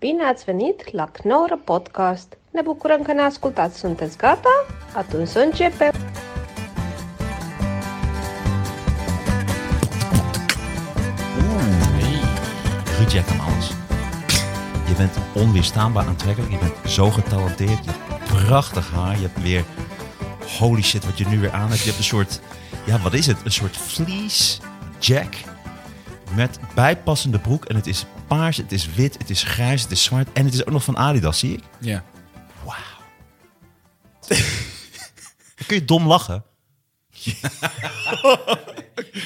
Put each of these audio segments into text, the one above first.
Bine ați venit la Knorr Podcast! Ne bucurăm că ne ascultați! Sunteți gata? Atunci să începem! Oeh, nee. Ruud Jekemans. Je bent onweerstaanbaar aantrekkelijk. Je bent zo getalenteerd. Je hebt prachtig haar. Je hebt weer... Holy shit, wat je nu weer aan hebt. Je hebt een soort... Ja, wat is het? Een soort fleece jack met bijpassende broek. En het is paars, het is wit, het is grijs, het is zwart. En het is ook nog van Adidas, zie ik. Ja. Wauw. Dan kun je dom lachen.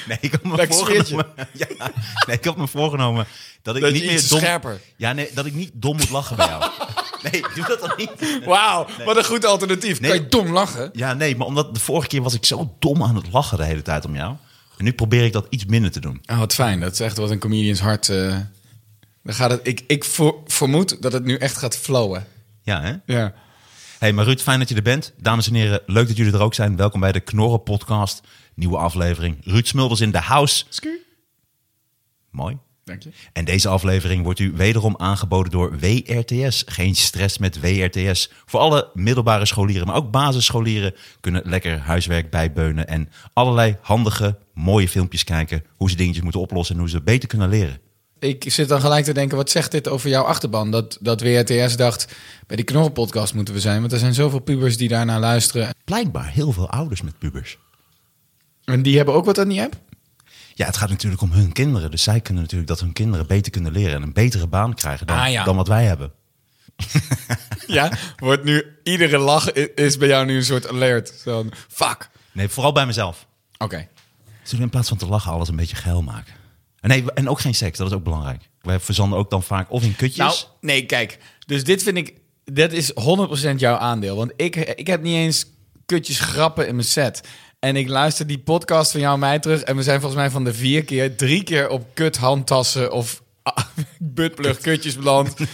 nee, ik had me Lekker voorgenomen. Ja, nee, ik had me voorgenomen dat ik Dat je niet meer iets dom. scherper. Ja, nee, dat ik niet dom moet lachen bij jou. nee, doe dat dan niet. Wauw, wat een goed alternatief. Nee. Kan je dom lachen? Ja, nee, maar omdat de vorige keer was ik zo dom aan het lachen de hele tijd om jou. En nu probeer ik dat iets minder te doen. Ah, wat fijn. Dat is echt wat een comedians hart... eh, dan gaat het, ik ik voor- vermoed dat het nu echt gaat flowen. Ja, hè? Ja. Hey, maar Ruud, fijn dat je er bent. Dames en heren, leuk dat jullie er ook zijn. Welkom bij de Knorren Podcast. Nieuwe aflevering. Ruud Smulders in de house. Sku. Mooi. Dank je. En deze aflevering wordt u wederom aangeboden door WRTS. Geen stress met WRTS. Voor alle middelbare scholieren, maar ook basisscholieren kunnen lekker huiswerk bijbeunen en allerlei handige, mooie filmpjes kijken hoe ze dingetjes moeten oplossen en hoe ze beter kunnen leren. Ik zit dan gelijk te denken, wat zegt dit over jouw achterban? Dat, dat WRTS dacht, bij die knorrenpodcast moeten we zijn. Want er zijn zoveel pubers die daarnaar luisteren. Blijkbaar heel veel ouders met pubers. En die hebben ook wat aan die app? Ja, het gaat natuurlijk om hun kinderen. Dus zij kunnen natuurlijk dat hun kinderen beter kunnen leren en een betere baan krijgen dan, Ah, ja. dan wat wij hebben. Ja, wordt nu... Iedere lach i- is bij jou nu een soort alert. Zo'n, fuck. Nee, vooral bij mezelf. Oké. Zullen we in plaats van te lachen alles een beetje geil maken? En, nee, en ook geen seks, dat is ook belangrijk. Wij verzanden ook dan vaak of in kutjes. Nou, nee, kijk. Dus dit vind ik... Dat is 100% jouw aandeel. Want ik, ik heb niet eens kutjes grappen in mijn set. En ik luister die podcast van jou en mij terug. En we zijn volgens mij van de vier keer... drie keer op kut handtassen of... ah, buttplug kutjes beland. Dan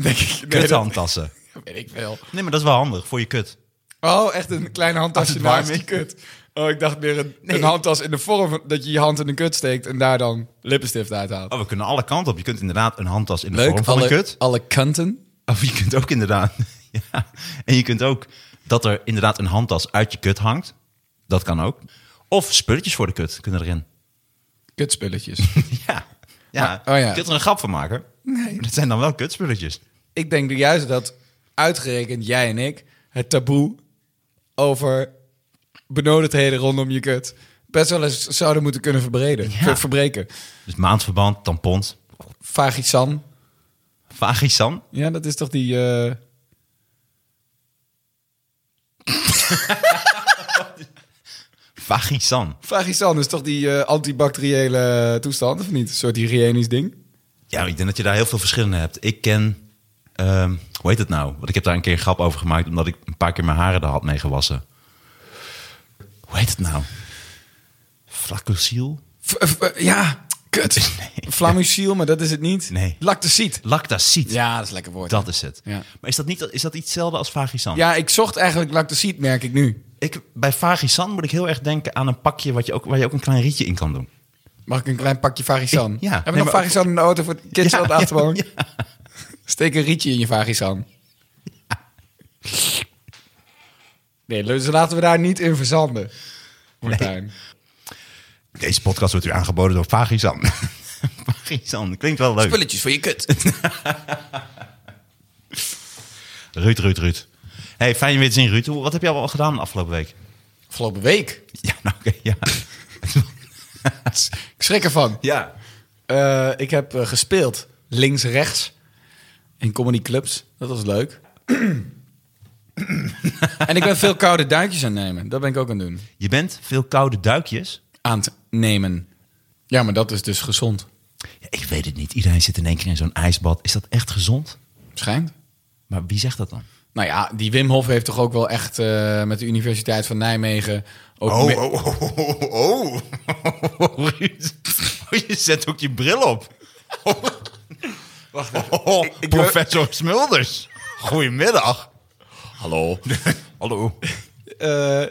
denk ik, nee, dat- Kuthandtassen. Weet ik veel. Nee, maar dat is wel handig voor je kut. Oh, echt een kleine handtasje Als het warm naast je is. kut. Oh, ik dacht meer een, een handtas in de vorm van- dat je je hand in de kut steekt... en daar dan lippenstift uithaalt. Oh, we kunnen alle kanten op. Je kunt inderdaad een handtas in de vorm Leuk, van alle, een kut. alle kanten. Of je kunt ook inderdaad... ja. En je kunt ook dat er inderdaad een handtas uit je kut hangt. Dat kan ook. Of spulletjes voor de kut kunnen erin. Kutspulletjes. Ja. ja. Maar- oh ja. Je kunt er een grap van maken. Nee. Maar Dat zijn dan wel kutspulletjes. Ik denk juist dat uitgerekend jij en ik het taboe over benodigdheden rondom je kut best wel eens zouden moeten kunnen verbreden, ver- verbreken. Dus maandverband, tampons, Vagisan, vagisan. ja, dat is toch die. eh, Vagisan. Vagisan is toch die eh, antibacteriële toestand, of niet? Een soort hygiënisch ding. Ja, ik denk dat je daar heel veel verschillende hebt. Ik ken, ehm, hoe heet het nou? Want ik heb daar een keer een grap over gemaakt, omdat ik een paar keer mijn haren er had mee gewassen. Hoe heet het nou? Flacosiel? V- v- ja, kut. Nee. Flamucil, maar dat is het niet. Nee. Lactacid. Lactacid. Ja, dat is lekker woord. Dat is het. Ja. Maar is dat, niet, is dat iets hetzelfde als vagisan? Ja, ik zocht eigenlijk lactacid, merk ik nu. Ik, bij vagisan moet ik heel erg denken aan een pakje wat je ook, waar je ook een klein rietje in kan doen. Mag ik een klein pakje vagisan? Ik- ja. Hebben we Nee, nog maar- vagisan in de auto voor het kids op de achterbank? ja, ja. Steek een rietje in je vagisan. Nee, dus laten we daar niet in verzanden. Martijn. Deze podcast wordt u aangeboden door Vagisan. Vagisan, klinkt wel leuk. Spulletjes voor je kut. Ruud, Ruud, Ruud. Hey, fijn je weer te zien, Ruud. Hoe- Wat heb jij al gedaan de afgelopen week? Afgelopen week. Ja, nou oké, ja. Ik schrik ervan. ja. Eh, ik heb eh, gespeeld links-rechts in comedyclubs. Dat was leuk. en ik ben veel koude duikjes aan het nemen. Dat ben ik ook aan het doen. Je bent veel koude duikjes. Aan het nemen. Ja, maar dat is dus gezond. Ja, ik weet het niet. Iedereen zit in één keer in zo'n ijsbad. Is dat echt gezond? Schijnt. Maar wie zegt dat dan? Nou ja, die Wim Hof heeft toch ook wel echt eh, met de Universiteit van Nijmegen... Ook me- oh, oh, oh, oh. Ruud. Oh, je zet ook je bril op. Wacht professor Smulders. Goedemiddag. Hallo. Hallo. eh,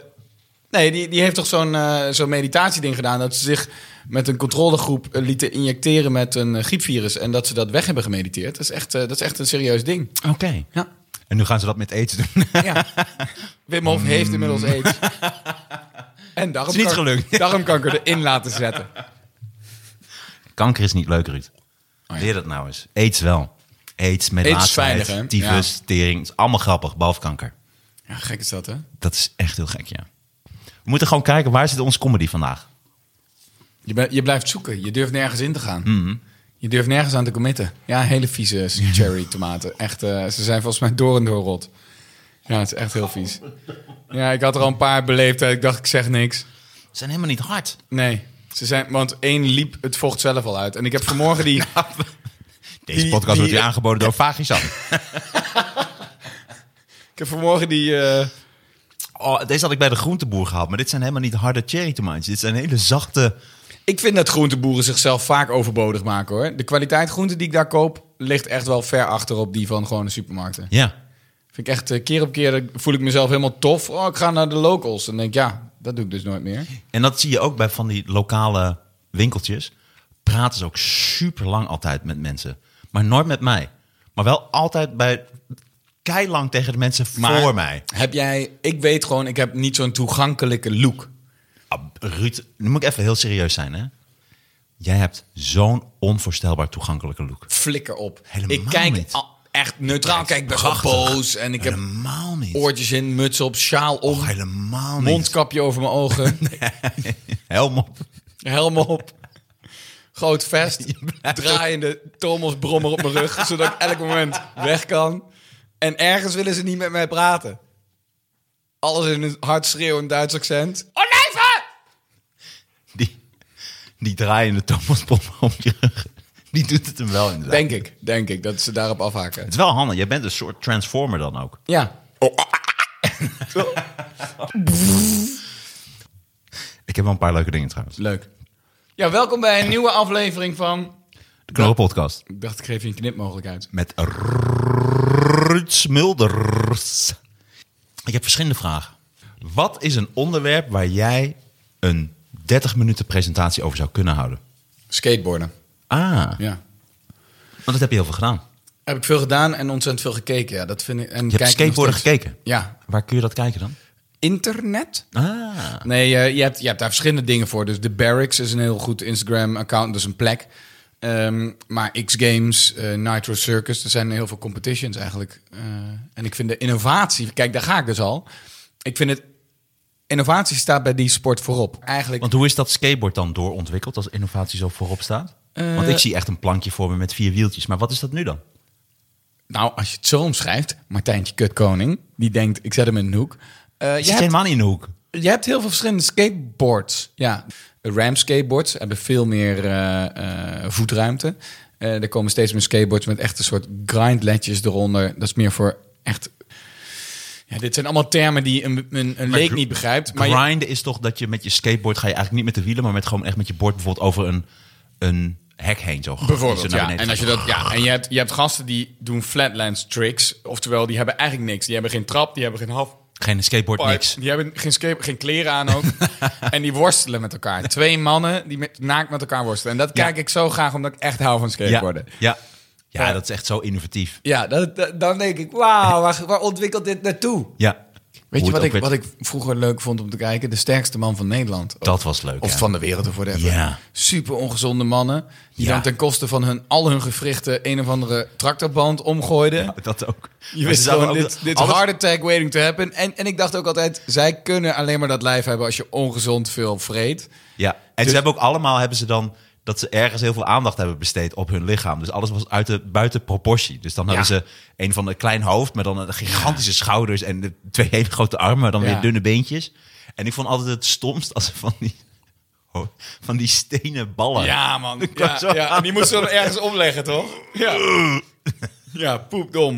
nee, die, die heeft toch zo'n eh, zo'n meditatieding gedaan... dat ze zich met een controlegroep eh, lieten injecteren met een eh, griepvirus. En dat ze dat weg hebben gemediteerd. Dat is echt, eh, dat is echt een serieus ding. Oké. Ja. En nu gaan ze dat met aids doen. ja. Wim Hof heeft inmiddels aids. En daarom Is niet gelukt. darmkanker erin laten zetten. Kanker is niet leuk, Ruud. Oh ja. Leer dat nou eens. Aids wel. Aids met Aids is laatstheid, veilig, hè? tyfus, tering. Het is allemaal grappig, behalve kanker. Ja, gek is dat, hè? Dat is echt heel gek, ja. We moeten gewoon kijken, waar zit onze comedy vandaag? Je, bent- je blijft zoeken. Je durft nergens in te gaan. Je durft nergens aan te committen. Ja, hele vieze cherry tomaten. Echt, eh, ze zijn volgens mij door en door rot. Ja, het is echt heel vies. Ja, ik had er al een paar beleefd. en Ik dacht, ik zeg niks. Ze zijn helemaal niet hard. Nee, ze zijn, want één liep het vocht zelf al uit. En ik heb vanmorgen die... Deze Die- podcast wordt die- hier aangeboden door Vagisan. Ik heb vanmorgen die... eh, Oh, deze had ik bij de groenteboer gehad, maar dit zijn helemaal niet harde cherry tomaatjes. Dit zijn hele zachte... Ik vind dat groenteboeren zichzelf vaak overbodig maken hoor. De kwaliteit groente die ik daar koop ligt echt wel ver achter op die van gewone supermarkten. Ja, Vind ik echt eh, keer op keer eh, voel ik mezelf helemaal tof. Oh, ik ga naar de locals. En denk ik, ja, dat doe ik dus nooit meer. en dat zie je ook bij van die lokale winkeltjes. Praten ze ook super lang altijd met mensen. Maar nooit met mij. Maar wel altijd bij... Keilang tegen de mensen Maar voor mij. Heb jij, ik weet gewoon, ik heb niet zo'n toegankelijke look. Ah, Ruud, nu moet ik even heel serieus zijn, hè? Jij hebt zo'n onvoorstelbaar toegankelijke look. Flikker op. Helemaal ik kijk niet. al- echt neutraal. Kijk, ik ben gewoon Prachtig. boos. En ik heb helemaal niet. oortjes in, muts op, sjaal om, Och, helemaal niet. mondkapje over mijn ogen, Helm op. helm op. Groot vest, draaiende brommer op mijn rug, zodat ik elk moment weg kan. En ergens willen ze niet met mij praten. Alles in een hard schreeuwend Duits accent. Olijven! Die, die draaiende Thomas op je rug. Die doet het hem wel inderdaad. Denk ik, denk ik, dat ze daarop afhaken. Het is wel handig. Jij bent een soort transformer dan ook. Ja, Ik heb wel een paar leuke dingen trouwens. leuk. Ja, welkom bij een nieuwe aflevering van... De Knorren Podcast. Ik dacht, ik geef je een knipmogelijkheid. Met Ruud Smulders. Ik heb verschillende vragen. Wat is een onderwerp waar jij een 30 minuten presentatie over zou kunnen houden? Skateboarden. Ah, Ja. want dat heb je heel veel gedaan. Heb ik veel gedaan en ontzettend veel gekeken. Ja, dat vind ik. En Je hebt skateboarden gekeken. Ja. Waar kun je dat kijken dan? Internet? Ah, Nee, eh, je, hebt, je hebt daar verschillende dingen voor. Dus de Barracks is een heel goed Instagram-account, dus een plek. Ehm, maar X-Games, eh, Nitro Circus, er zijn heel veel competitions eigenlijk. Eh, en ik vind de innovatie, kijk, daar ga ik dus al. Ik vind het, innovatie staat bij die sport voorop. Eigenlijk, want hoe is dat skateboard dan doorontwikkeld als innovatie zo voorop staat? Want ik zie echt een plankje voor me met vier wieltjes. Maar wat is dat nu dan? nou, als je het zo omschrijft, Martijntje Kutkoning, die denkt, ik zet hem in een hoek. Eh, Je je zit hebt- helemaal niet in de hoek. Je hebt heel veel verschillende skateboards. Ja, Ram skateboards hebben veel meer eh, eh, voetruimte. Eh, er komen steeds meer skateboards met echt een soort grindledjes eronder. Dat is meer voor echt. Ja, dit zijn allemaal termen die een, een, een leek gr- niet begrijpt. Maar je- Grinden is toch dat je met je skateboard ga je eigenlijk niet met de wielen, maar met gewoon echt met je bord bijvoorbeeld over een, een hek heen. Zo, nou bijvoorbeeld, Zo naar ja. beneden. En, als je, dat, ja, en je, hebt, je hebt gasten die doen flatlands tricks. Oftewel, die hebben eigenlijk niks. Die hebben geen trap, die hebben geen half. Geen skateboard, Pipe. niks. Die hebben geen, skate, geen kleren aan ook. en die worstelen met elkaar. Twee mannen die met, naakt met elkaar worstelen. En dat Ja. kijk ik zo graag, omdat ik echt hou van Ja, skateboarden. Ja, ja. ja, Ja. dat is echt zo innovatief. dat, dat- dan denk ik, wauw, waar, waar ontwikkelt dit naartoe? Ja. Weet je Hoe het wat ook ik, werd- wat ik vroeger leuk vond om te kijken? De sterkste man van Nederland. Of- Dat was leuk, Of ja. van de wereld of whatever. Ja. Super ongezonde mannen. Die Ja. dan ten koste van hun, al hun gewrichten een of andere tractorband omgooiden. Dat ook. Je Maar ze wist zouden gewoon, ook dit, dat- dit alles- heart attack waiting to happen. En, en ik dacht ook altijd, zij kunnen alleen maar dat lijf hebben als je ongezond veel vreet. Ja, en Dus- ze hebben ook allemaal hebben ze dan dat ze ergens heel veel aandacht hebben besteed op hun lichaam. Dus alles was uit de, buiten proportie. Dus dan hadden ze een van een klein hoofd, maar dan een gigantische schouders en de twee hele grote armen, maar dan Ja. weer dunne beentjes. En ik vond altijd het stomst als ze van die, oh, van die stenen ballen. Ja, man. kwam Ja, zo ja. aan. En die moest ze dan ergens omleggen, toch? Ja, ja poepdom.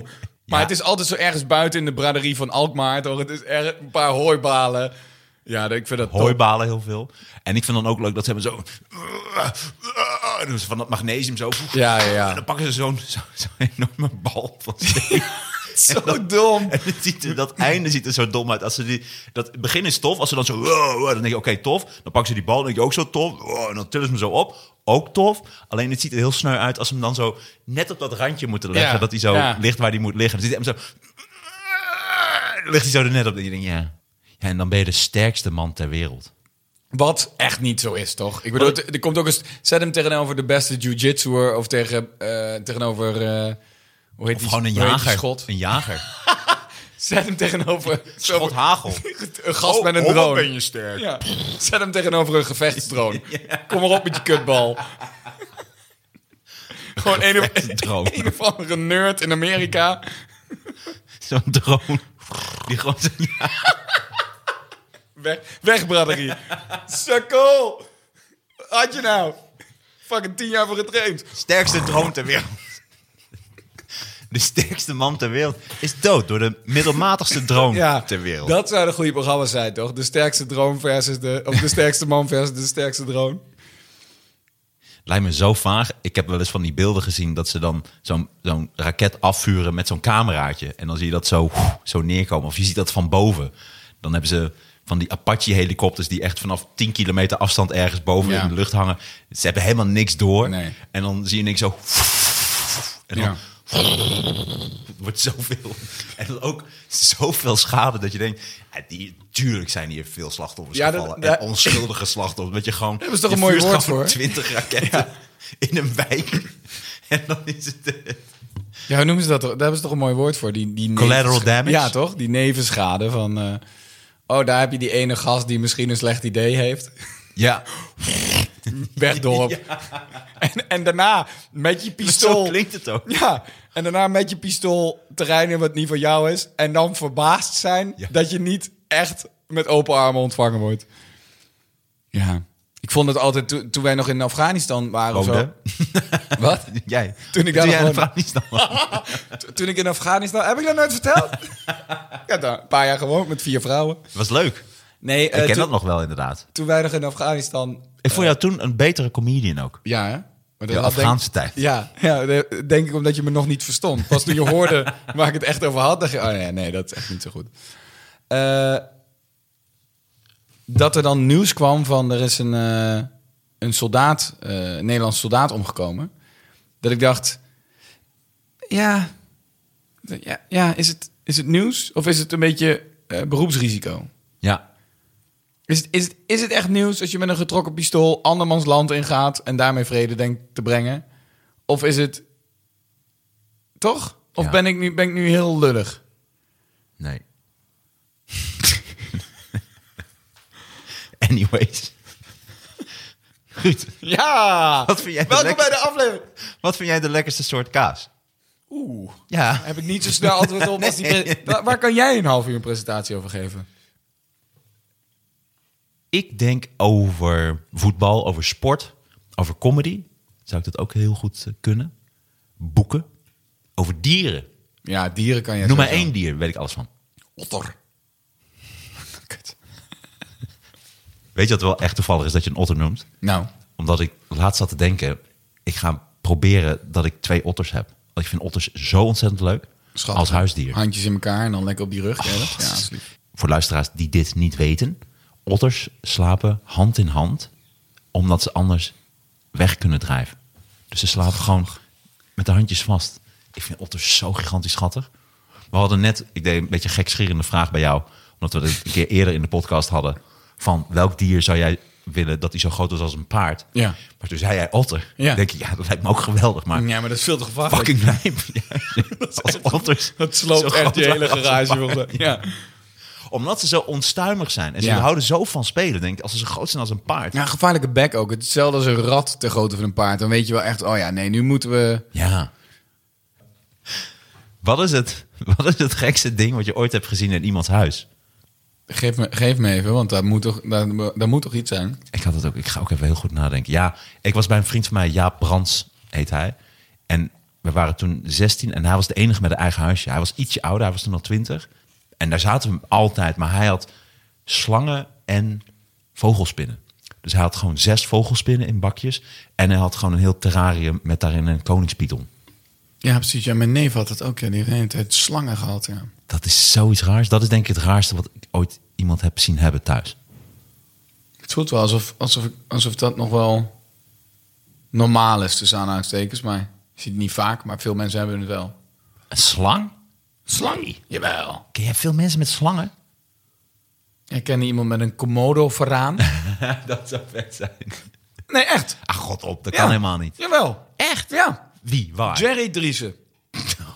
Ja. Maar het is altijd zo ergens buiten in de braderie van Alkmaar, toch? Het is er, een paar hooibalen. Ja, ik vind dat top. Hooibalen heel veel. En ik vind dan ook leuk dat ze hebben zo... en doen ze van dat magnesium zo... Ja, ja, ja. En dan pakken ze zo'n zo, zo'n enorme bal van steen. Zo dom. En het ziet er- dat einde ziet er zo dom uit. Als ze die, dat begin is tof. Als ze dan zo... wow, wow, dan denk je, oké, tof. Dan pakken ze die bal, dan denk je, ook zo tof. Wow, en dan tillen ze hem zo op. Ook tof. Alleen het ziet er heel sneu uit als ze hem dan zo net op dat randje moeten leggen. Ja, Dat hij zo ja. ligt waar hij moet liggen. Dan ziet hij hem zo... Ligt hij zo er net op. En je denkt, ja. ja. En dan ben je de sterkste man ter wereld. Wat echt niet zo is, toch? Ik bedoel, Wat- het- er komt ook eens... Zet hem tegenover de beste jiu-jitsuer of tegen, eh, tegenover... eh, hoe heet Of die, gewoon een hoe heet die jager. schot? Een jager. Zet hem tegenover... Schot hagel. Een gast met een Oh, drone. ben je sterk. Ja. Zet hem tegenover een gevechtsdrone. Kom maar op met je kutbal. Gewoon een of, gevechtsdrone. een of andere nerd in Amerika. Zo'n drone. Die gewoon zo- Weg, weg braderie. Sukkel! Wat Had je nou? Fucking tien jaar voor getraind. sterkste droom ter wereld. De sterkste man ter wereld is dood door de middelmatigste droom ter wereld. Dat zou een goede programma's zijn, toch? De sterkste droom versus de... Of de sterkste man versus de sterkste drone. Lijkt me zo vaag. Ik heb wel eens van die beelden gezien dat ze dan zo'n zo'n raket afvuren met zo'n cameraatje. En dan zie je dat zo, zo neerkomen. Of je ziet dat van boven. Dan hebben ze van die Apache-helikopters die echt vanaf 10 kilometer afstand ergens boven Ja. in de lucht hangen. Ze hebben helemaal niks door. Nee. En dan zie je niks zo... En dan Ja. Het wordt zoveel. En dan ook zoveel schade dat je denkt... ja, die, tuurlijk zijn hier veel slachtoffers Ja, dat- gevallen. dat- en onschuldige slachtoffers. Dat je gewoon... Daar hebben ze toch je een mooi vuurt woord gewoon voor? 20 raketten in een wijk. en dan is het... eh, Ja, hoe noemen ze dat? toch? Daar hebben ze toch een mooi woord voor? Die, die Collateral nevenscha- damage? Ja, toch? Die nevenschade van... eh, oh, daar heb je die ene gast die misschien een slecht idee heeft. ja, Wegdorp. En, en daarna met je zo pistool... klinkt het ook. Ja, en daarna met je pistool terrein in wat niet van jou is. En dan verbaasd zijn Ja. dat je niet echt met open armen ontvangen wordt. Ja. Ik vond het altijd, to- toen wij nog in Afghanistan waren of zo. Woonde. Wat? Jij. Toen ik daar jij nog een vraag niet nam. T- Toen ik in Afghanistan... Heb ik dat nooit verteld? ik heb daar een paar jaar gewoond met vier vrouwen. was leuk. Nee, eh, Ik ken toen, dat nog wel inderdaad. toen wij nog in Afghanistan... Ik vond jou toen een betere comedian ook. Ja, hè? Maar De had denk- Afghaanse tijd. Ja, ja, de- denk ik omdat je me nog niet verstond. Pas toen je hoorde waar ik het echt over had, dacht je... Oh nee, nee, dat is echt niet zo goed. Eh, dat er dan nieuws kwam van... Er is een, eh, een soldaat, eh, een Nederlands soldaat omgekomen. Dat ik dacht... Ja, ja, ja is, het, is het nieuws? Of is het een beetje eh, beroepsrisico? Ja. Is het, is, het, is het echt nieuws als je met een getrokken pistool andermans land ingaat en daarmee vrede denkt te brengen? Of is het. Toch? Of Ja. ben, ik nu, ben ik nu heel lullig? Nee. Anyways. Goed. Ja! Wat vind jij de Welkom lekkerste- bij de aflevering. Wat vind jij de lekkerste soort kaas? Oeh, Ja. heb ik niet zo snel antwoord op. Als die pre- Wa- Waar kan jij een half uur een presentatie over geven? Ik denk over voetbal, over sport, over comedy. Zou ik dat ook heel goed eh, kunnen? Boeken. Over dieren. Ja, dieren kan jij. Noem maar sowieso. één dier, weet ik alles van. Otter. Kut. Weet je wat wel echt toevallig is dat je een otter noemt? Nou, Omdat ik laatst zat te denken, ik ga proberen dat ik twee otters heb. Want ik vind otters zo ontzettend leuk. schat. Als huisdier. Oh, Handjes in elkaar en dan lekker op die rug. hè? ja, dat is lief. Voor luisteraars die dit niet weten. Otters slapen hand in hand. Omdat ze anders weg kunnen drijven. Dus ze slapen gewoon met de handjes vast. Ik vind otters zo gigantisch schattig. We hadden net, ik deed een beetje een gekschierende vraag bij jou. Omdat we het een keer eerder in de podcast hadden. Van welk dier zou jij willen dat hij zo groot was als een paard? Ja. Maar toen zei jij otter. Ja. denk ik, ja, dat lijkt me ook geweldig. Maar Ja, maar dat is veel te gevaarlijk. fucking lijp. Ja, als otters. Dat sloopt zo echt groot je hele waren als een garage. paard. volgens mij. Ja. Omdat ze zo onstuimig zijn. En ze Ja. houden zo van spelen. Denk, ik, als ze zo groot zijn als een paard. Ja, een gevaarlijke bek ook. Hetzelfde als een rat ter grootte van een paard. Dan weet je wel echt, oh ja, nee, nu moeten we... Ja. Wat is, het, wat is het gekste ding wat je ooit hebt gezien in iemands huis? Geef me, geef me even, want daar moet, toch, daar, daar moet toch iets zijn? Ik had het ook. Ik ga ook even heel goed nadenken. Ja, ik was bij een vriend van mij, Jaap Brands heet hij. En we waren toen 16 en hij was de enige met een eigen huisje. Hij was ietsje ouder, hij was toen al 20. En daar zaten we altijd, maar hij had slangen en vogelspinnen. Dus hij had gewoon zes vogelspinnen in bakjes. En hij had gewoon een heel terrarium met daarin een koningspython. Ja, precies. Ja, mijn neef had het ook. Ja, die heeft tijd slangen gehad. Ja. Dat is zoiets raars. Dat is denk ik het raarste wat ik ooit iemand heb zien hebben thuis. Het voelt wel alsof, alsof, alsof dat nog wel normaal is, tussen aanhalingstekens. Maar je ziet het niet vaak, maar veel mensen hebben het wel. Een slang? Slang? Jawel. Ken jij veel mensen met slangen? Ik ken iemand met een komodo-verraan. dat zou vet zijn. nee, echt. Ach, god op. Dat Ja. kan helemaal niet. Jawel. Echt? Ja. Wie? Waar? Jerry Driessen.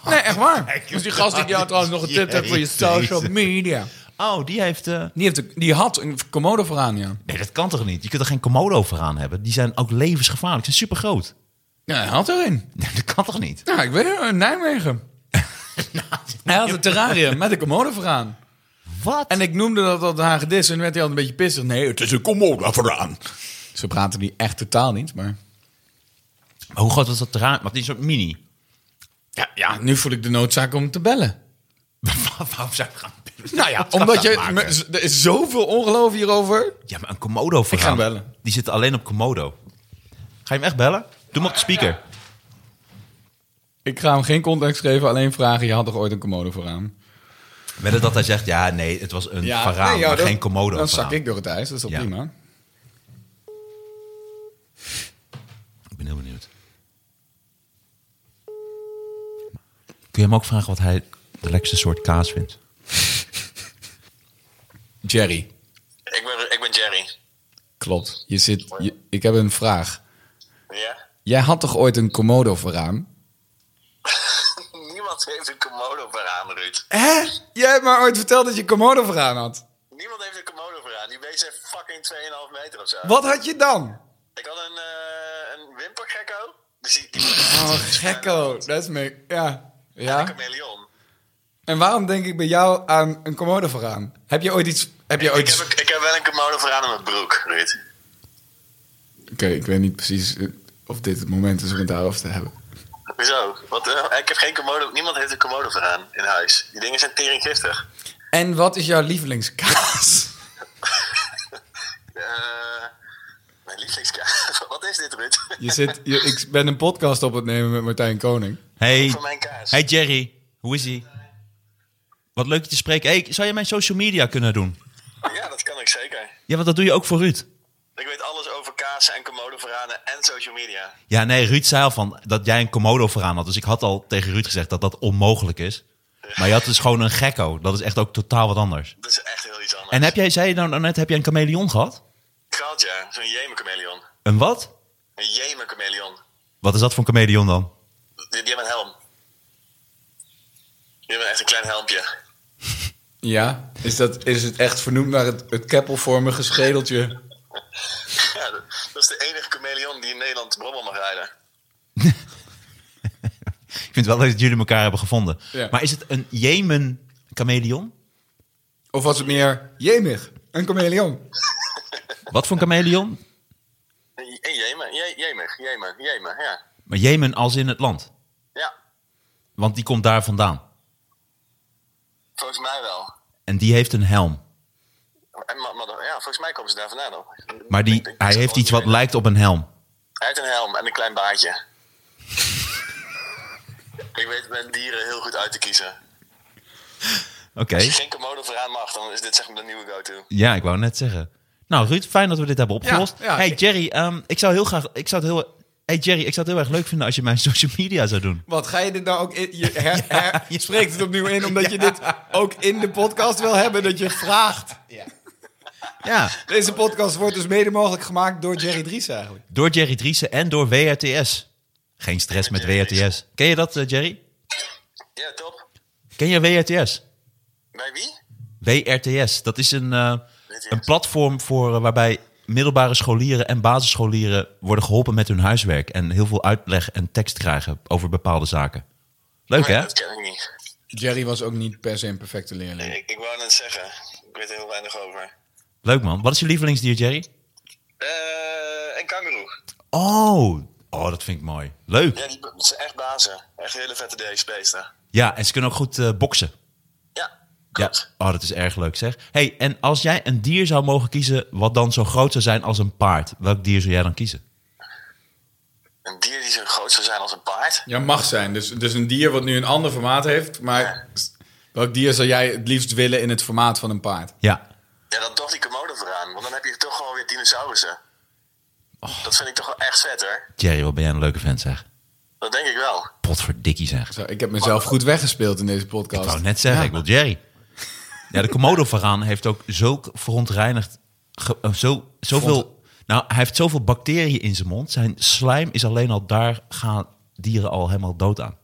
Nee, echt waar. Dus die gast die jou trouwens nog getint hebt voor je social media. oh, die heeft... eh, Die, heeft, een- die had een komodo vooraan, ja. Nee, dat kan toch niet? Je kunt er geen komodo voor aan hebben? Die zijn ook levensgevaarlijk. Ze zijn super groot. Ja, hij had er een. Nee, dat kan toch niet? Nou, ik weet het, in Nijmegen. Nou, Hij had een terrarium met een komodo vooraan. Wat? En ik noemde dat al de hagedis en toen werd hij al een beetje pissig. Nee, het is een komodo vooraan. Ze praten die echt totaal niet, maar... Maar hoe groot was dat terrarium? Want die is ook mini. Ja, ja, nu voel ik de noodzaak om te bellen. Waarom zou ik gaan Nou ja, Wat zou omdat dat je... maken? me- z- Er is zoveel ongeloof hierover. Ja, maar een komodo voor ga hem bellen. Die zitten alleen op komodo. Ga je hem echt bellen? Doe hem op de speaker. Ik ga hem geen context geven, alleen vragen. Je had toch ooit een komodo vooraan? Wedden dat hij zegt, ja, nee, het was een varaan, nee, ja, maar dat- geen komodo Dan varaan. zak ik door het ijs, dat is toch Ja. prima? Ik ben heel benieuwd. Kun je hem ook vragen wat hij de lekkerste soort kaas vindt? Jerry, Ik ben, ik ben Jerry. klopt. Je zit, je- ik heb een vraag. Ja? Jij had toch ooit een komodo vooraan? Niemand heeft een komodo vooraan, Ruud. Hè? Jij hebt maar ooit verteld dat je komodo vooraan had. Niemand heeft een komodo vooraan. Die beesten zijn fucking 2,5 meter of zo. Wat had je dan? Ik had een, eh een wimpergekko. Dus die, die Oh, gekko. Dat is me... Ja. Een ja. chameleon. En waarom denk ik bij jou aan een komodo vooraan? Heb je ooit iets... Heb je ooit... Ik heb, iets- een- ik heb wel een komodo vooraan in mijn broek, Ruud. Oké, ik weet niet precies eh, of dit het moment is om het daarover te hebben. Hoezo? Want eh, ik heb geen komodo... Niemand heeft een komodo vooraan in huis. Die dingen zijn teringgiftig. En wat is jouw lievelingskaas? Eh mijn lievelingskaas. Wat is dit, Ruud? Je zit, je- ik ben een podcast op het nemen met Martijn Koning. Hey, Voor mijn kaas. hey Jerry, hoe is ie? Wat leuk je te spreken. Hey, zou je mijn social media kunnen doen? Ja, dat kan ik zeker. Ja, want dat doe je ook voor Ruud. Ik weet alles over kazen en komodo voorraden en social media. Ja, nee, Ruud zei al van dat jij een komodo vooraan had. Dus ik had al tegen Ruud gezegd dat dat onmogelijk is. Maar je had dus gewoon een gekko. Dat is echt ook totaal wat anders. Dat is echt heel iets anders. En heb jij, zei je nou net, heb jij een chameleon gehad? Gehad, ja. Zo'n jemenchameleon. Een wat? Een jemenchameleon. Wat is dat voor een chameleon dan? Die, die hebben een helm. Die hebben echt een klein helmpje. Ja, is, dat, is het echt vernoemd naar het, het keppelvormige schedeltje? Ja, dat, dat is de enige chameleon die in Nederland brommel mag rijden. Ik vind wel leuk dat jullie elkaar hebben gevonden. Ja. Maar is het een Jemen chameleon? Of was het meer, jemig, een chameleon? Wat voor een chameleon? Een een jemen, je, jemen, jemen, jemen, ja. Maar Jemen als in het land. Ja, Want die komt daar vandaan. volgens mij wel. En die heeft een helm. En, ma- ma- ja, volgens mij komen ze daar vandaan ook. Maar Ik die, denk dat hij ze heeft gewoon iets wat weten. lijkt op een helm. Hij heeft een helm en een klein baardje. ik weet mijn dieren heel goed uit te kiezen. Oké. Als je geen komodo vooraan mag, dan is dit zeg maar de nieuwe go-to. Ja, ik wou net zeggen. Nou, Ruud, fijn dat we dit hebben opgelost. Ja, ja. hey Jerry, ehm, ik zou heel graag. Ik zou het heel. Hey Jerry, ik zou het heel erg leuk vinden als je mijn social media zou doen. Wat, ga je dit nou ook in, je her- her- je spreekt het opnieuw in omdat je dit ook in de podcast wil hebben, dat je het vraagt. Ja, Deze podcast wordt dus mede mogelijk gemaakt door Jerry Dries eigenlijk. door Jerry Driessen en door WRTS. Geen stress met WRTS. Ken je dat, eh, Jerry? Ja, top. Ken je WRTS? Bij wie? WRTS, dat is een, eh, een platform voor, eh, waarbij middelbare scholieren en basisscholieren worden geholpen met hun huiswerk. En heel veel uitleg en tekst krijgen over bepaalde zaken. Leuk, Nee, hè? dat ken ik niet. Jerry was ook niet per se een perfecte leerling. Ik, ik wou net zeggen, ik weet er heel weinig over. Leuk, man. Wat is je lievelingsdier, Jerry? Eh en kangaroo. Oh, oh dat vind ik mooi. Leuk. Ja, die dat zijn echt bazen. Echt hele vette DX-beesten. Ja, en ze kunnen ook goed eh, boksen. Ja, Ja. klopt. Oh, dat is erg leuk zeg. hey, en als jij een dier zou mogen kiezen wat dan zo groot zou zijn als een paard, welk dier zou jij dan kiezen? Een dier die zo groot zou zijn als een paard. Ja, mag zijn. Dus, dus een dier wat nu een ander formaat heeft. Maar welk dier zou jij het liefst willen in het formaat van een paard? Ja. Ja, dan toch die komodo vooraan. Want dan heb je toch gewoon weer dinosaurussen. Oh. Dat vind ik toch wel echt vet hoor. Jerry, wat ben jij een leuke vent zeg. Dat denk ik wel. Potverdikkie zeg. Zo, ik heb mezelf goed weggespeeld in deze podcast. Ik wou net zeggen, ik wil Jerry. Ja, de komodo varaan heeft ook zo verontreinigd, ge- eh, zo, zoveel... Nou, hij heeft zoveel bacteriën in zijn mond. Zijn slijm is alleen al daar gaan dieren al helemaal dood aan.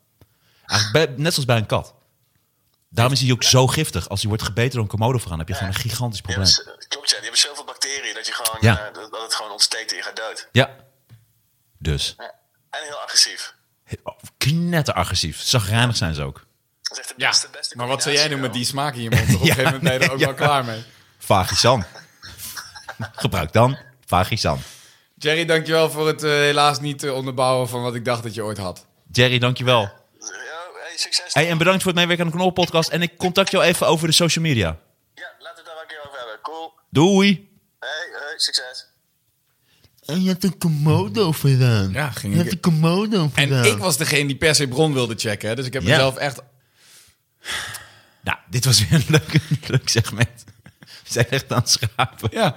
Eigenlijk bij- net zoals bij een kat. Daarom is hij ook zo giftig. Als hij wordt gebeten door een komodo varaan, heb je gewoon een gigantisch Die probleem. hebben, z- klopt ja, die hebben zoveel bacteriën dat, je gewoon, Ja. eh, dat dat het gewoon ontsteekt en je gaat dood. Ja. Dus, oh, Ja. En heel agressief. knetteragressief. Zagrijnig zijn ze ook. Dat is echt de Ja, beste, beste maar wat zou jij doen met die combinatie smaak in je mond? Op een Ja, gegeven moment ben je er ook nee, wel ja. klaar mee. Vagisan. Gebruik dan Vagisan. Jerry, dankjewel voor het eh, helaas niet eh, onderbouwen van wat ik dacht dat je ooit had. Jerry, dankjewel. wel. Ja, hey, succes. Hey, en bedankt voor het meewerken aan de Knol Podcast. En ik contact jou even over de social media. Ja, laten we het daar wel een keer over hebben. Cool. Doei. Hey, hey, succes. En je hebt een komodo vandaan. Ja, ging je ik- hebt een komodo En vandaan. ik was degene die per se bron wilde checken. Hè? Dus ik heb Ja. mezelf echt... Nou, dit was weer een leuk, leuk segment. We zijn echt aan het schapen. Ja.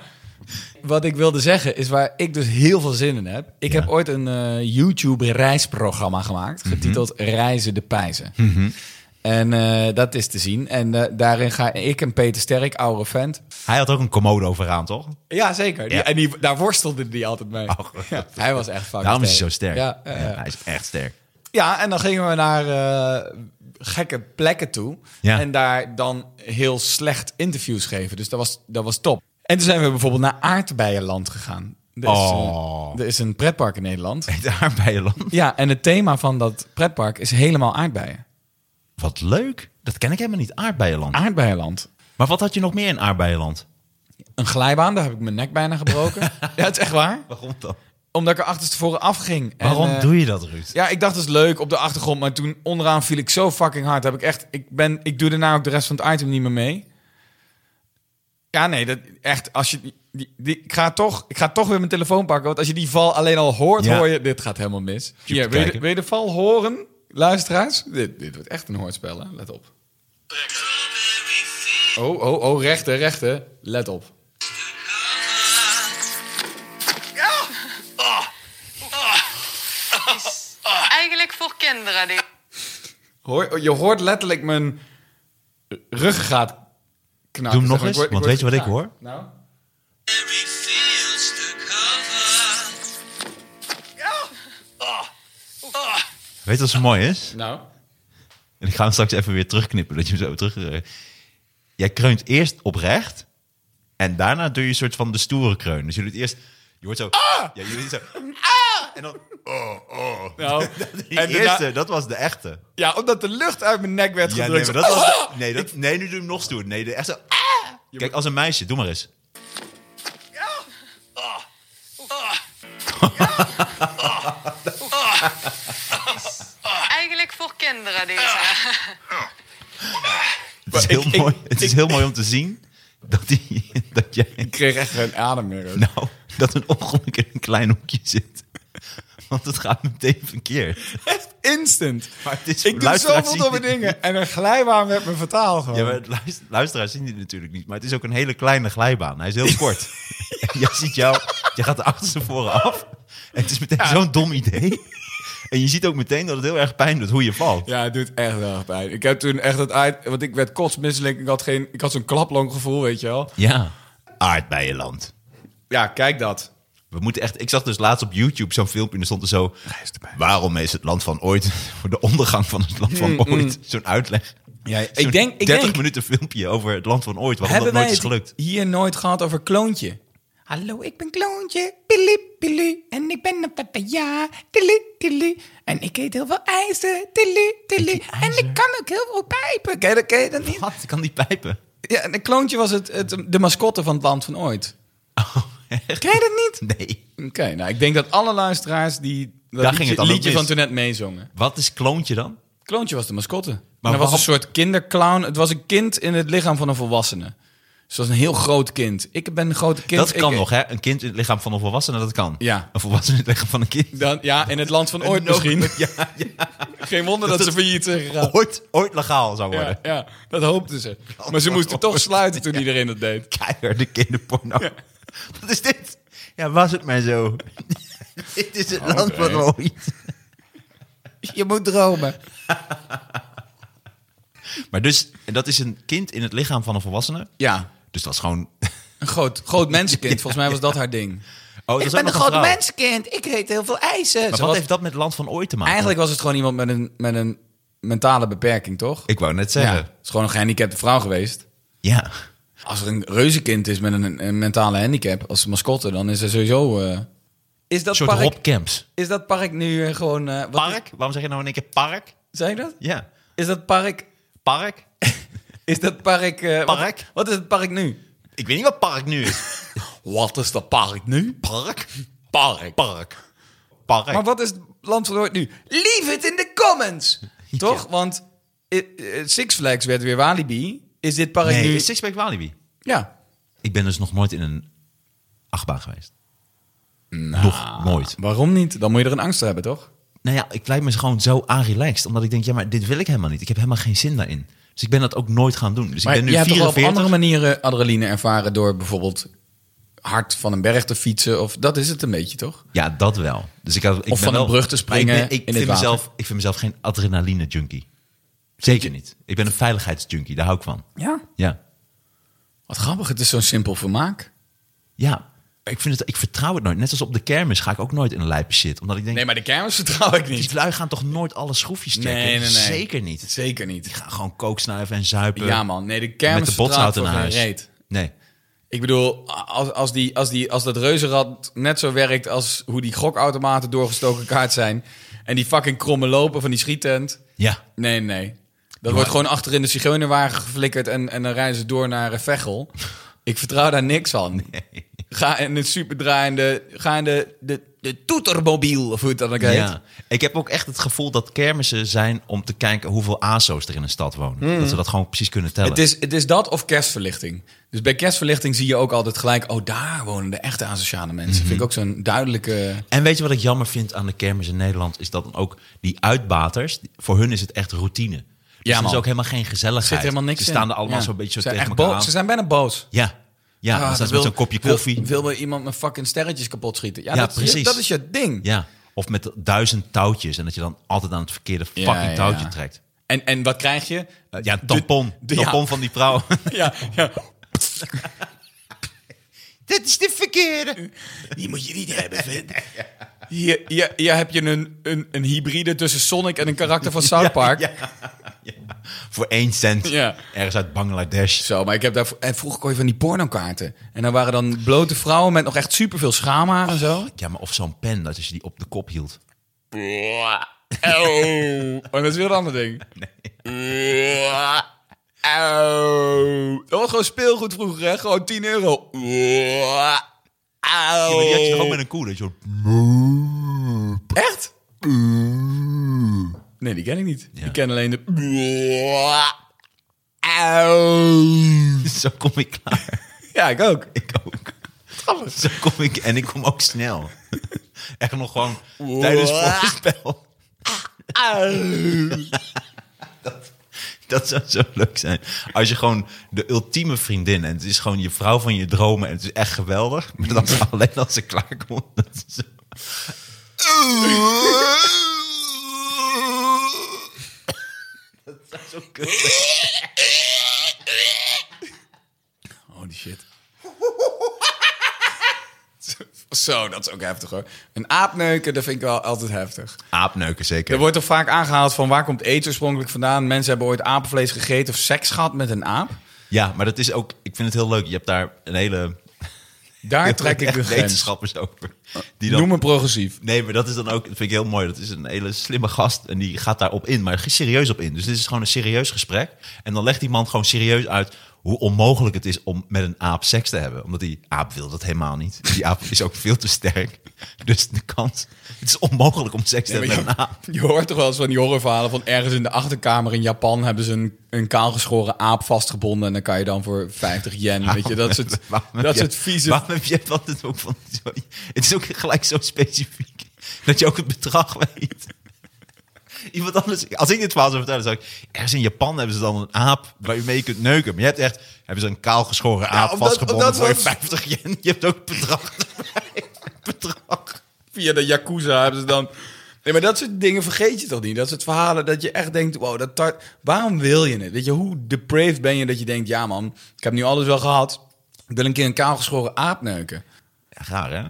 Wat ik wilde zeggen is waar ik dus heel veel zin in heb. Ik heb ooit een eh, YouTube reisprogramma gemaakt. Mhm. Getiteld Reizen de Pijzen. En eh, dat is te zien. En eh, daarin ga ik en Peter Sterk, oude vent... Hij had ook een komodo vooraan, toch? Ja, zeker. Die- Ja. En die, daar worstelde die altijd mee. Oh, goed. Ja, hij was echt fucking Daarom is hij zo sterk. Ja, Ja, ja, ja. hij is echt sterk. Ja, en dan gingen we naar eh, gekke plekken toe. Ja. En daar dan heel slecht interviews geven. Dus dat was, dat was top. En toen zijn we bijvoorbeeld naar Aardbeienland gegaan. Er is, Oh. eh, er is een pretpark in Nederland. Daar bij je land. Ja, en het thema van dat pretpark is helemaal aardbeien. Wat leuk. Dat ken ik helemaal niet. Aardbeienland. Aardbeienland. Maar wat had je nog meer in aardbeienland? Een glijbaan, daar heb ik mijn nek bijna gebroken. ja, het is echt waar. Waarom dan? Omdat ik er achterstevoren afging. En, Waarom eh, doe je dat, Ruud? Ja, ik dacht dat is leuk op de achtergrond, maar toen onderaan viel ik zo fucking hard. Heb ik echt, ik ben, ik doe daarna ook de rest van het item niet meer mee. Ja, nee, dat echt. Als je die, die, die- ik ga toch, ik ga toch weer mijn telefoon pakken, want als je die val alleen al hoort, Ja. hoor je dit gaat helemaal mis. te Ja, wil, je, de- kijken. wil je de val horen, luisteraars? Dit, dit wordt echt een hoorspel, hè? Let op. Oh, oh, oh, rechter, rechter, let op. Eigenlijk voor kinderen dit. Hoor, oh, je hoort letterlijk mijn ruggengraat Doe knappen. hem nog zeg maar. Ik eens, word- ik want word weet je wat ik gekraakt. hoor? Nou. Weet je wat zo mooi is? Nou, En ik ga hem straks even weer terugknippen, dat je hem zo terug... eh, jij kreunt eerst oprecht en daarna doe je een soort van de stoere kreun. Dus je doet eerst... Je hoort zo... Ja, je doet zo... En dan... Oh, oh. nou. Die en daarna- eerste, dat was de echte. ja, omdat de lucht uit mijn nek werd Ja, nee, gedrukt. maar dat was de- "Ah!" nee, dat, nee, nu doe je hem nog stoer. Nee, de echte... Kijk, als een meisje, doe maar eens. Eigenlijk voor kinderen deze. Het is, Maar heel, ik- ik- mooi, het is heel mooi om te zien dat, die, dat jij... Ik kreeg echt geen adem meer. ook. Nou, dat een ongeluk in een klein hoekje zit. Want het gaat meteen verkeerd. Echt instant. Maar het is voor ik doe luisteraars zoveel zien domme dit dingen. En een glijbaan werd me vertaal gewoon. Ja, maar het luist- luisteraars zien dit natuurlijk niet. Maar het is ook een hele kleine glijbaan. Hij is heel kort. en jij ziet jou, je gaat de achterste voren af. En het is meteen zo'n dom idee. en je ziet ook meteen dat het heel erg pijn doet hoe je valt. Ja, het doet echt wel erg pijn. Ik heb toen echt het uit... Want ik werd kotsmisselijk. Ik had, geen, ik had zo'n klaplonggevoel, weet je wel. Ja. Aardbeienland. Ja, kijk dat. We moeten echt, ik zag dus laatst op YouTube zo'n filmpje en er stond er zo... Waarom is het land van ooit, voor de ondergang van het land van ooit, zo'n uitleg. Mm, Ja, ik Zo'n denk- ik 30 denk- minuten filmpje over het land van ooit, waarom dat Hebben nooit wij is gelukt. het hier nooit gehad over kloontje? Hallo, ik ben kloontje. Pili, pili. En ik ben een papaya. Tili, tili. En ik eet heel veel ijzer. Tili, tili. En ik kan ook heel veel pijpen. Ken je dat, ken je dat niet? Wat? Ik kan die pijpen. Ja, en kloontje was het, het, de mascotte van het land van ooit. Oh, echt? Ken je dat niet? Nee. Oké, nou, ik denk dat alle luisteraars die Daar dat ging liedje, het dan ook liedje mis. van toen net meezongen. Wat is kloontje dan? Kloontje was de mascotte. Maar Maar hij was waarom- een soort kinderclown. Het was een kind in het lichaam van een volwassene. Zoals een heel groot kind. Ik ben een groot kind. dat kan ik- nog, hè? Een kind in het lichaam van een volwassene, dat kan. Ja. Een volwassene in het lichaam van een kind. Dan, ja, in het land van ooit Nog- misschien. Ja, ja. Geen wonder dat, Dat ze failliet zijn gegaan. Ooit, ooit legaal zou Ja, worden. ja, dat hoopten ze. Maar ze moesten toch sluiten toen iedereen dat deed. Keiharde kinderporno. Wat is dit? Ja, was het maar zo. dit is het Oh, land van ooit. Je moet dromen. Maar dus, en dat is een kind in het lichaam van een volwassene. Ja, Dus dat is gewoon... een groot, groot mensenkind. Volgens mij was dat haar ding. Oh, ik ben een groot mensenkind. Ik eet heel veel ijzen. Maar Ze wat was- heeft dat met land van ooit te maken? Eigenlijk was het gewoon iemand met een, met een mentale beperking, toch? Ik wou net ja, zeggen. het is gewoon een gehandicapte vrouw geweest. Ja. Als er een reuzenkind is met een, een mentale handicap als mascotte, dan is er sowieso... eh, Is Een dat, soort park, Rob Camps. is dat park nu eh, gewoon... eh, wat- Park? Waarom zeg je nou in één keer park? Zei ik dat? Ja. Is dat park... Park? Is dat park... eh, wat- Park? Wat, is het park nu? Ik weet niet wat park nu is. Wat is dat park nu? Park? Park. Park. Park. Maar wat is het land van ooit nu? Leave it in the comments! Toch? Want eh, eh, Six Flags werd weer Walibi. Is dit park nee, nu... is Sixpack Walibi. Ja. Ik ben dus nog nooit in een achtbaan geweest. nog nooit. Waarom niet? Dan moet je er een angst voor hebben, toch? Nou ja, ik lijkt me gewoon zo aanrelaxed. Omdat ik denk, ja, maar dit wil ik helemaal niet. Ik heb helemaal geen zin daarin. Dus ik ben dat ook nooit gaan doen. Dus Maar ik ben nu je hebt toch wel 44. op andere manieren adrenaline ervaren door bijvoorbeeld hard van een berg te fietsen of dat is het een beetje toch? Ja, dat wel. Dus ik had, ik ben van een wel, brug te maar springen Ik, ben- ik in het vind water. mezelf, ik vind mezelf geen adrenaline junkie. Zeker niet. Ik ben een veiligheidsjunkie. Daar hou ik van. Ja. Ja. Wat grappig, het is zo'n simpel vermaak. Ja. Ik, vind het, ik vertrouw het nooit. Net als op de kermis ga ik ook nooit in een lijpe shit. Omdat ik denk, Nee, maar de kermis vertrouw ik niet. die lui gaan toch nooit alle schroefjes checken? Zeker niet. Zeker niet. Ga gewoon kooksnuiven en zuipen. Ja man, nee, de Met de kermis vertrouw ik botsauto voor naar geen huis. reet. Nee. Ik bedoel, als, als, die, als, die, als dat reuzenrad net zo werkt als hoe die gokautomaten doorgestoken kaart zijn en die fucking kromme lopen van die schiettent. Ja. Nee, nee. Dat wordt gewoon achterin de zigeunerwagen geflikkerd en, en dan rijden ze door naar eh, Veghel. Ik vertrouw daar niks van. Ga in het superdraaiende, ga in de, de, de toetermobiel, of hoe het dan ook heet. Ja. Ik heb ook echt het gevoel dat kermissen zijn om te kijken hoeveel ASO's er in een stad wonen. Dat ze dat gewoon precies kunnen tellen. Hmm. Het, is, het is dat of kerstverlichting. Dus bij kerstverlichting zie je ook altijd gelijk, oh daar wonen de echte asociale mensen. Vind ik ook zo'n duidelijke... En weet je wat ik jammer vind aan de kermis in Nederland? Is dat dan ook die uitbaters, die- voor hun is het echt routine. Dus Ja, er is man. ook helemaal geen gezelligheid. Er zit helemaal niks Ze in. staan er allemaal Ja. zo'n beetje Ze zo zijn tegen echt elkaar boos. aan. Ze zijn bijna boos. Ja, ja dan Ah, staan ze wil- met zo'n kopje wil- koffie. Wil wel iemand met fucking sterretjes kapot schieten. Ja, Ja, dat, precies. precies. dat is je ding. Ja, of met duizend touwtjes. En dat je dan altijd aan het verkeerde fucking ja, ja. touwtje trekt. En, en wat krijg je? Eh, ja, een tampon. De- de- ja. tampon van die vrouw. Ja, ja. Dit is de verkeerde. Die moet je niet hebben, vind Hier, hier, hier heb je een, een, een hybride tussen Sonic en een karakter van South Park. Ja, ja. Voor één cent. Ja. Ergens uit Bangladesh. Zo, maar ik heb daar... En vroeger kon je van die pornokaarten. En dan waren dan blote vrouwen met nog echt superveel schaamhaar en zo. Ja, maar of zo'n pen, dat als je die op de kop hield. Oh, dat is weer een ander ding. Auw. Oh. Dat was gewoon speelgoed vroeger, hè? Gewoon 10 euro. Ja, maar die had je toch ook met een koe? Dat je zo- Oh. Echt? Nee, die ken ik niet. Ik ken alleen de... Zo kom ik klaar. Ja, ik ook. Ik ook. Zo kom ik en ik kom ook snel. Echt nog gewoon tijdens het spel. Ah, Dat zou zo leuk zijn. Als je gewoon de ultieme vriendin en het is gewoon je vrouw van je dromen en het is echt geweldig. Maar dan Mm. alleen als ze klaarkomt. Dat is zo. Dat zou zo kut zijn. Holy shit. Zo, dat is ook heftig hoor. Een aapneuken, dat vind ik wel altijd heftig. Aapneuken Er zeker. wordt toch vaak aangehaald van waar komt aids oorspronkelijk vandaan? Mensen hebben ooit apenvlees gegeten of seks gehad met een aap. Ja, maar dat is ook. Ik vind het heel leuk. Je hebt daar een hele. Daar trek ik de echt grens. wetenschappers over. Die dan, Noem me progressief. Nee, maar dat is dan ook. Dat vind ik heel mooi. Dat is een hele slimme gast en die gaat daarop in, maar serieus op in. Dus dit is gewoon een serieus gesprek. En dan legt die man gewoon serieus uit hoe onmogelijk het is om met een aap seks te hebben. Omdat die aap wil dat helemaal niet. Die aap is ook veel te sterk. Dus de kans, het is onmogelijk om seks te Nee, hebben maar met een aap. je, je hoort toch wel eens van die horrorverhalen van ergens in de achterkamer in Japan hebben ze een, een kaalgeschoren aap vastgebonden en dan kan je dan voor 50 yen, weet je, dat is het, Waarom heb dat is je- het vieze. Waarom heb je dat het ook van... sorry, het is ook gelijk zo specifiek dat je ook het bedrag weet. Iemand anders, als ik dit verhaal zou vertellen, zou ik... Ergens in Japan hebben ze dan een aap waar je mee kunt neuken. Maar je hebt echt... Hebben ze een kaalgeschoren aap omdat- vastgebonden omdat voor je was- 50 yen. Je hebt ook het bedrag erbij. Het bedrag. via de Yakuza hebben ze dan... Nee, maar dat soort dingen vergeet je toch niet? Dat soort verhalen dat je echt denkt, wow, dat tar- waarom wil je het? Weet je, hoe depraved ben je dat je denkt, ja man, ik heb nu alles wel gehad. Ik wil een keer een kaalgeschoren aap neuken. Ja, raar, hè?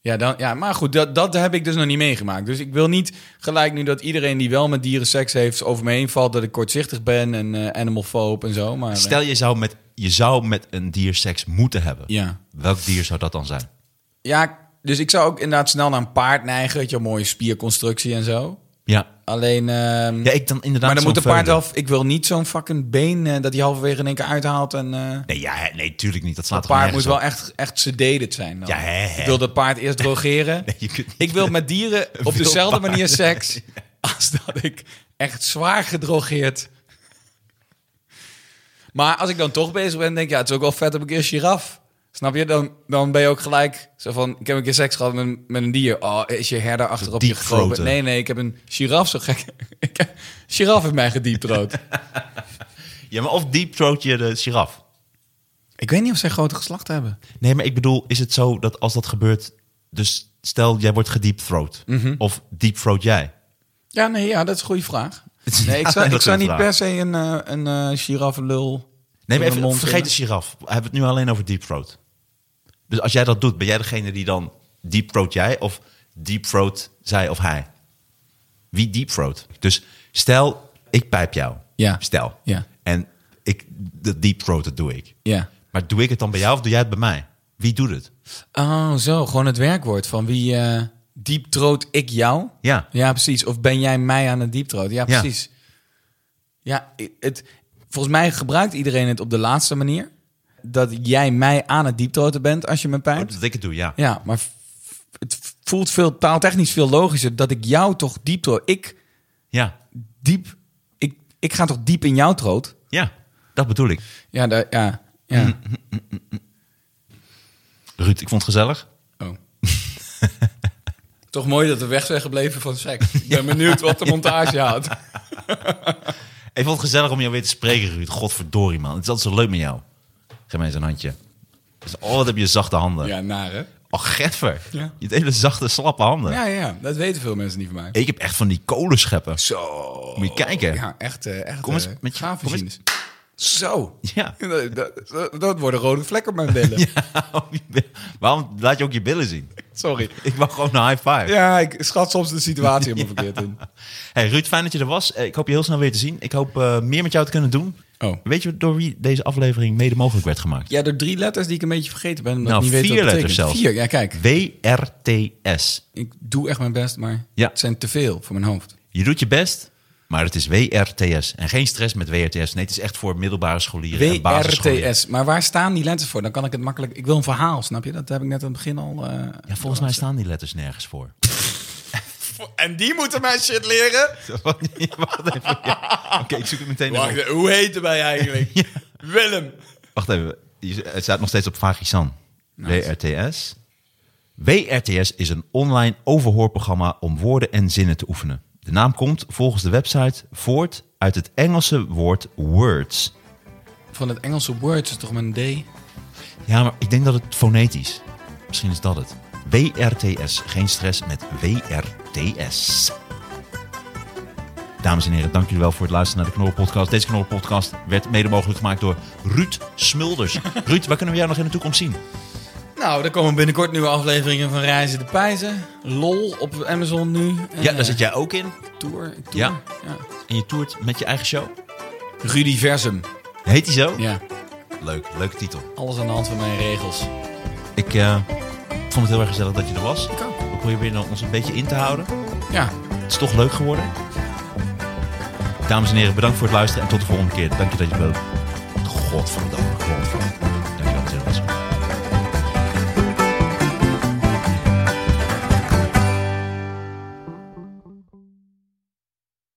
Ja, dan, ja maar goed, dat, dat heb ik dus nog niet meegemaakt. Dus ik wil niet gelijk nu dat iedereen die wel met dieren seks heeft over me heen valt... dat ik kortzichtig ben en eh animalfoob en zo, maar... eh, Stel, je zou, met, je zou met een dier seks moeten hebben. Ja. Welk dier zou dat dan zijn? Ja, dus ik zou ook inderdaad snel naar een paard neigen. Weet je, wel, mooie spierconstructie en zo. Ja. Alleen... ehm, Ja, ik dan inderdaad maar dan zo'n moet een paard veulen. wel... Ik wil niet zo'n fucking been eh, dat hij halverwege in één keer uithaalt. En eh Nee, ja, nee, tuurlijk niet. Dat slaat dat toch paard moet nergens wel op. echt, echt sedated zijn. Dan. Ja, hè, hè. Ik wil dat paard eerst drogeren. Nee, je kunt niet ik wil met dieren op wild dezelfde paard. manier seks... als dat ik echt zwaar gedrogeerd... Maar als ik dan toch bezig ben, denk ik... ja, het is ook wel vet op een keer een giraf. Snap je? Dan, dan ben je ook gelijk zo van... ik heb een keer seks gehad met, met een dier. Oh, is je herder achterop je Deepthroaten. gekropen? Nee, nee, ik heb een giraf zo gek... Ik heb- giraf heeft mij gedieptrood. Ja, maar of deep throat je de giraf. Ik weet niet of zij grote geslacht hebben. Nee, maar ik bedoel, is het zo dat als dat gebeurt... Dus stel, jij wordt gedeep throat. Of deep throat jij. Ja, nee, ja, dat is een goede vraag. is- Nee, ik ja, zou, dat ik is zou een niet vraag. per se een, eh een eh giraffenlul... Nee, maar in de even, mond vergeet de hebben. giraf. We hebben het nu alleen over deep throat. Dus als jij dat doet, ben jij degene die dan deep throat jij... of deep throat zij of hij? Wie deep throat? Dus stel, ik pijp jou. Ja. Stel. Ja. En ik, de deep throat, dat doe ik. Ja. Maar doe ik het dan bij jou of doe jij het bij mij? Wie doet het? Oh, zo. Gewoon het werkwoord van wie eh dieptroot ik jou. Ja. Ja, precies. Of ben jij mij aan het dieptroot? Ja, Ja. precies. Ja, i- het, volgens mij gebruikt iedereen het op de laatste manier. Dat jij mij aan het dieptroten bent als je me pijpt. Dat ik het doe, ja. Ja, maar f- het voelt veel, taaltechnisch veel logischer dat ik jou toch dieptroot. Ik Ja. diep, ik, ik ga toch diep in jou troot? Ja, dat bedoel ik. Ja, daar, ja. ja. Ruud, ik vond het gezellig. Oh. Toch mooi dat we weg zijn gebleven van seks. Ik ben benieuwd wat de montage houdt. Ik vond het gezellig om jou weer te spreken, Ruud. Godverdorie, man. Het is altijd zo leuk met jou. Geef mij eens een handje. Dus, oh, wat heb je zachte handen. Ja, naar hè? Och, getver. Ja. Je hebt hele zachte, slappe handen. Ja, ja, dat weten veel mensen niet van mij. Ik heb echt van die kolenscheppen. Zo. Moet je kijken. Ja, echt. eh, echt Kom eens eh, met je- graafmachines. Zo. Ja. Dat, dat, dat worden rode vlekken op mijn billen. Waarom laat je ook je billen zien? Sorry. Ik wou gewoon een high five. Ja, ik schat soms de situatie helemaal verkeerd in. Hey, Ruud, fijn dat je er was. Eh, Ik hoop je heel snel weer te zien. Ik hoop eh, meer met jou te kunnen doen. Oh. Weet je door wie deze aflevering mede mogelijk werd gemaakt? Ja, door drie letters die ik een beetje vergeten ben. Omdat Nou, ik niet vier weet wat het letters zelfs. betekent. Vier, ja, kijk. WRTS. Ik doe echt mijn best, maar Ja. het zijn te veel voor mijn hoofd. Je doet je best, maar het is WRTS. En geen stress met WRTS. Nee, het is echt voor middelbare scholieren en basisscholieren. WRTS. Maar waar staan die letters voor? Dan kan ik het makkelijk... Ik wil een verhaal, snap je? Dat heb ik net aan het begin al... eh, Ja, volgens mij staan die letters nergens voor. En die moeten mij shit leren? Wacht even. ja. Oké, ik zoek het meteen even op. Wacht, hoe heten wij eigenlijk? Willem. Wacht even. Nou, Je- Het staat nog steeds op Vagisan. WRTS. WRTS is een online overhoorprogramma om woorden en zinnen te oefenen. De naam komt volgens de website voort uit het Engelse woord words. Van het Engelse woord is toch met een D? Ja, maar ik denk dat het fonetisch. Misschien is dat het. WRTS. Geen stress met WRTS. Dames en heren, dank jullie wel voor het luisteren naar de Knorren Podcast. Deze Knorren Podcast werd mede mogelijk gemaakt door Ruud Smulders. Ruud, waar kunnen we jou nog in de toekomst zien? Nou, er komen binnenkort nieuwe afleveringen van Reizen de Pijzen. LOL op Amazon nu. En, Ja, daar eh, zit jij ook in. Tour. ik tour. Ja. ja. En je toert met je eigen show. Rudiversum. Heet die zo? Ja. Leuk, leuke titel. Alles aan de hand van mijn regels. Ik eh, vond het heel erg gezellig dat je er was. ook. We proberen ons een beetje in te houden. Ja. Het is toch leuk geworden. Dames en heren, bedankt voor het luisteren en tot de volgende keer. Dank je dat je bent. Godverdomme.